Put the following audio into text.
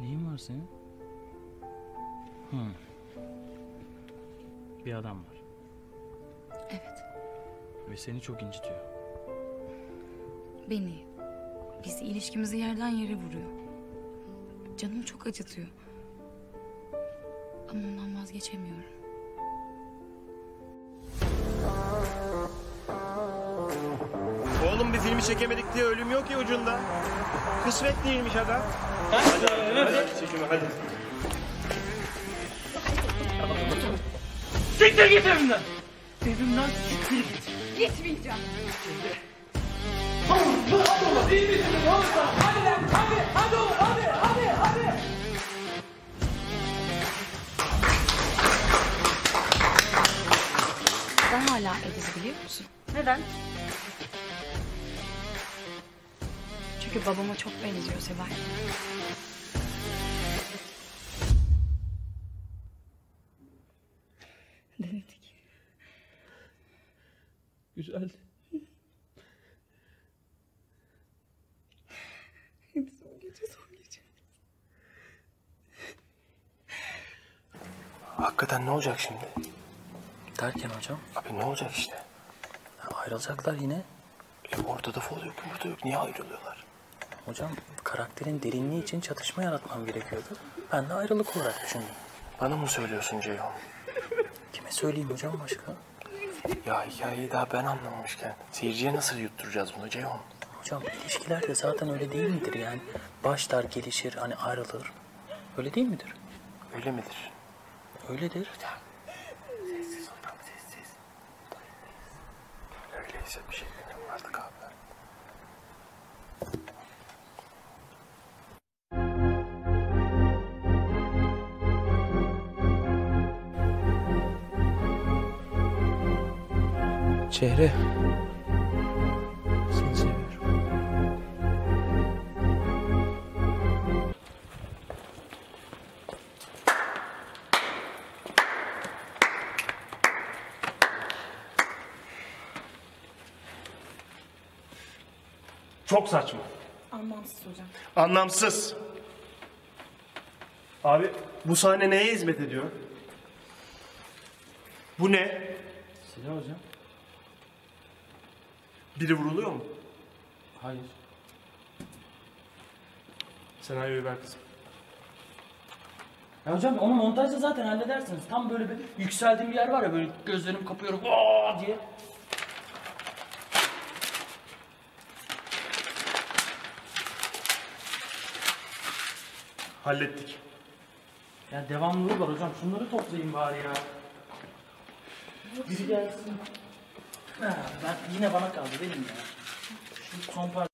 Neyin var senin? Hı. Bir adam var Evet. ve seni çok incitiyor. Beni. Bizi ilişkimizi yerden yere vuruyor. Canımı çok acıtıyor. Ama ondan vazgeçemiyorum. Oğlum bir filmi çekemedik diye ölüm yok ya ucunda. Kısmet değilmiş adam. Hadi, hadi, hadi çekime hadi. Ben hala Ediz'i biliyor musun? Neden? Çünkü babama çok benziyor Sebay. Denedik. Güzel. Hadi son gece son gece. Hakikaten ne olacak şimdi? Derken hocam Abi ne olacak işte? ayrılacaklar yine. E ortada fol yok, burada yok. Niye ayrılıyorlar? Hocam karakterin derinliği için çatışma yaratmam gerekiyordu. Ben de ayrılık olarak düşündüm. Bana mı söylüyorsun Ceyhun? Kime söyleyeyim hocam başka? Ya hikayeyi daha ben anlamamışken seyirciye nasıl yutturacağız bunu Ceyhun? Hocam ilişkiler de zaten öyle değil midir yani? Başlar gelişir hani ayrılır. Öyle değil midir? Öyle midir? Öyledir. Sessiz ol tam sessiz. Öyleyse bir şey deneyelim artık abi. Çehre. Seni seviyorum. Çok saçma. Anlamsız hocam. Anlamsız. Abi bu sahne neye hizmet ediyor? Bu ne? Silah hocam? Biri vuruluyor mu? Hayır. Senaryoyu ver kızım. Ya hocam onu montajda zaten halledersiniz. Tam böyle bir yükseldiğim bir yer var ya böyle gözlerimi kapıyorum aa diye. Hallettik. Ya devamlılığı var hocam. Şunları toplayayım bari ya. Biri gelsin. Ha, ben, yine bana kaldı benim ya. Şu son parça.